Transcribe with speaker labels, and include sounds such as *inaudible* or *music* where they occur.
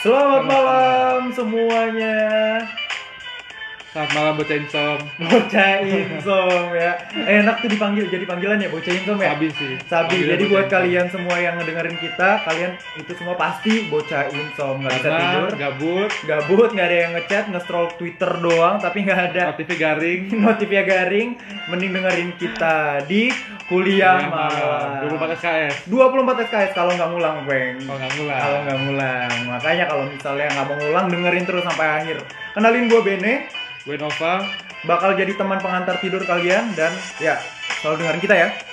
Speaker 1: Selamat malam semuanya.
Speaker 2: Selamat malam buat Insom.
Speaker 1: Bocah Insom ya. Enak tuh dipanggil jadi panggilan ya Bocah Insom ya.
Speaker 2: Sabi sih.
Speaker 1: Sabi.
Speaker 2: Panggilan
Speaker 1: Jadi buat
Speaker 2: Bocah Insom.
Speaker 1: kalian semua yang ngedengerin kita, kalian itu semua pasti Bocah Insom nggak bisa
Speaker 2: Karena
Speaker 1: tidur,
Speaker 2: gabut,
Speaker 1: gabut, nggak ada yang ngechat, nge-scroll Twitter doang tapi nggak ada *laughs*
Speaker 2: aktif garing.
Speaker 1: notifnya garing, mending dengerin kita di kuliah
Speaker 2: Dulu
Speaker 1: malam.
Speaker 2: pakai KS.
Speaker 1: 24 SKS kalau nggak ngulang, Bang.
Speaker 2: Kalau nggak mulai.
Speaker 1: Kalau nggak ngulang, makanya kalau misalnya nggak mau ngulang dengerin terus sampai akhir. Kenalin gue Bene,
Speaker 2: Gue Nova.
Speaker 1: bakal jadi teman pengantar tidur kalian dan ya selalu dengerin kita ya.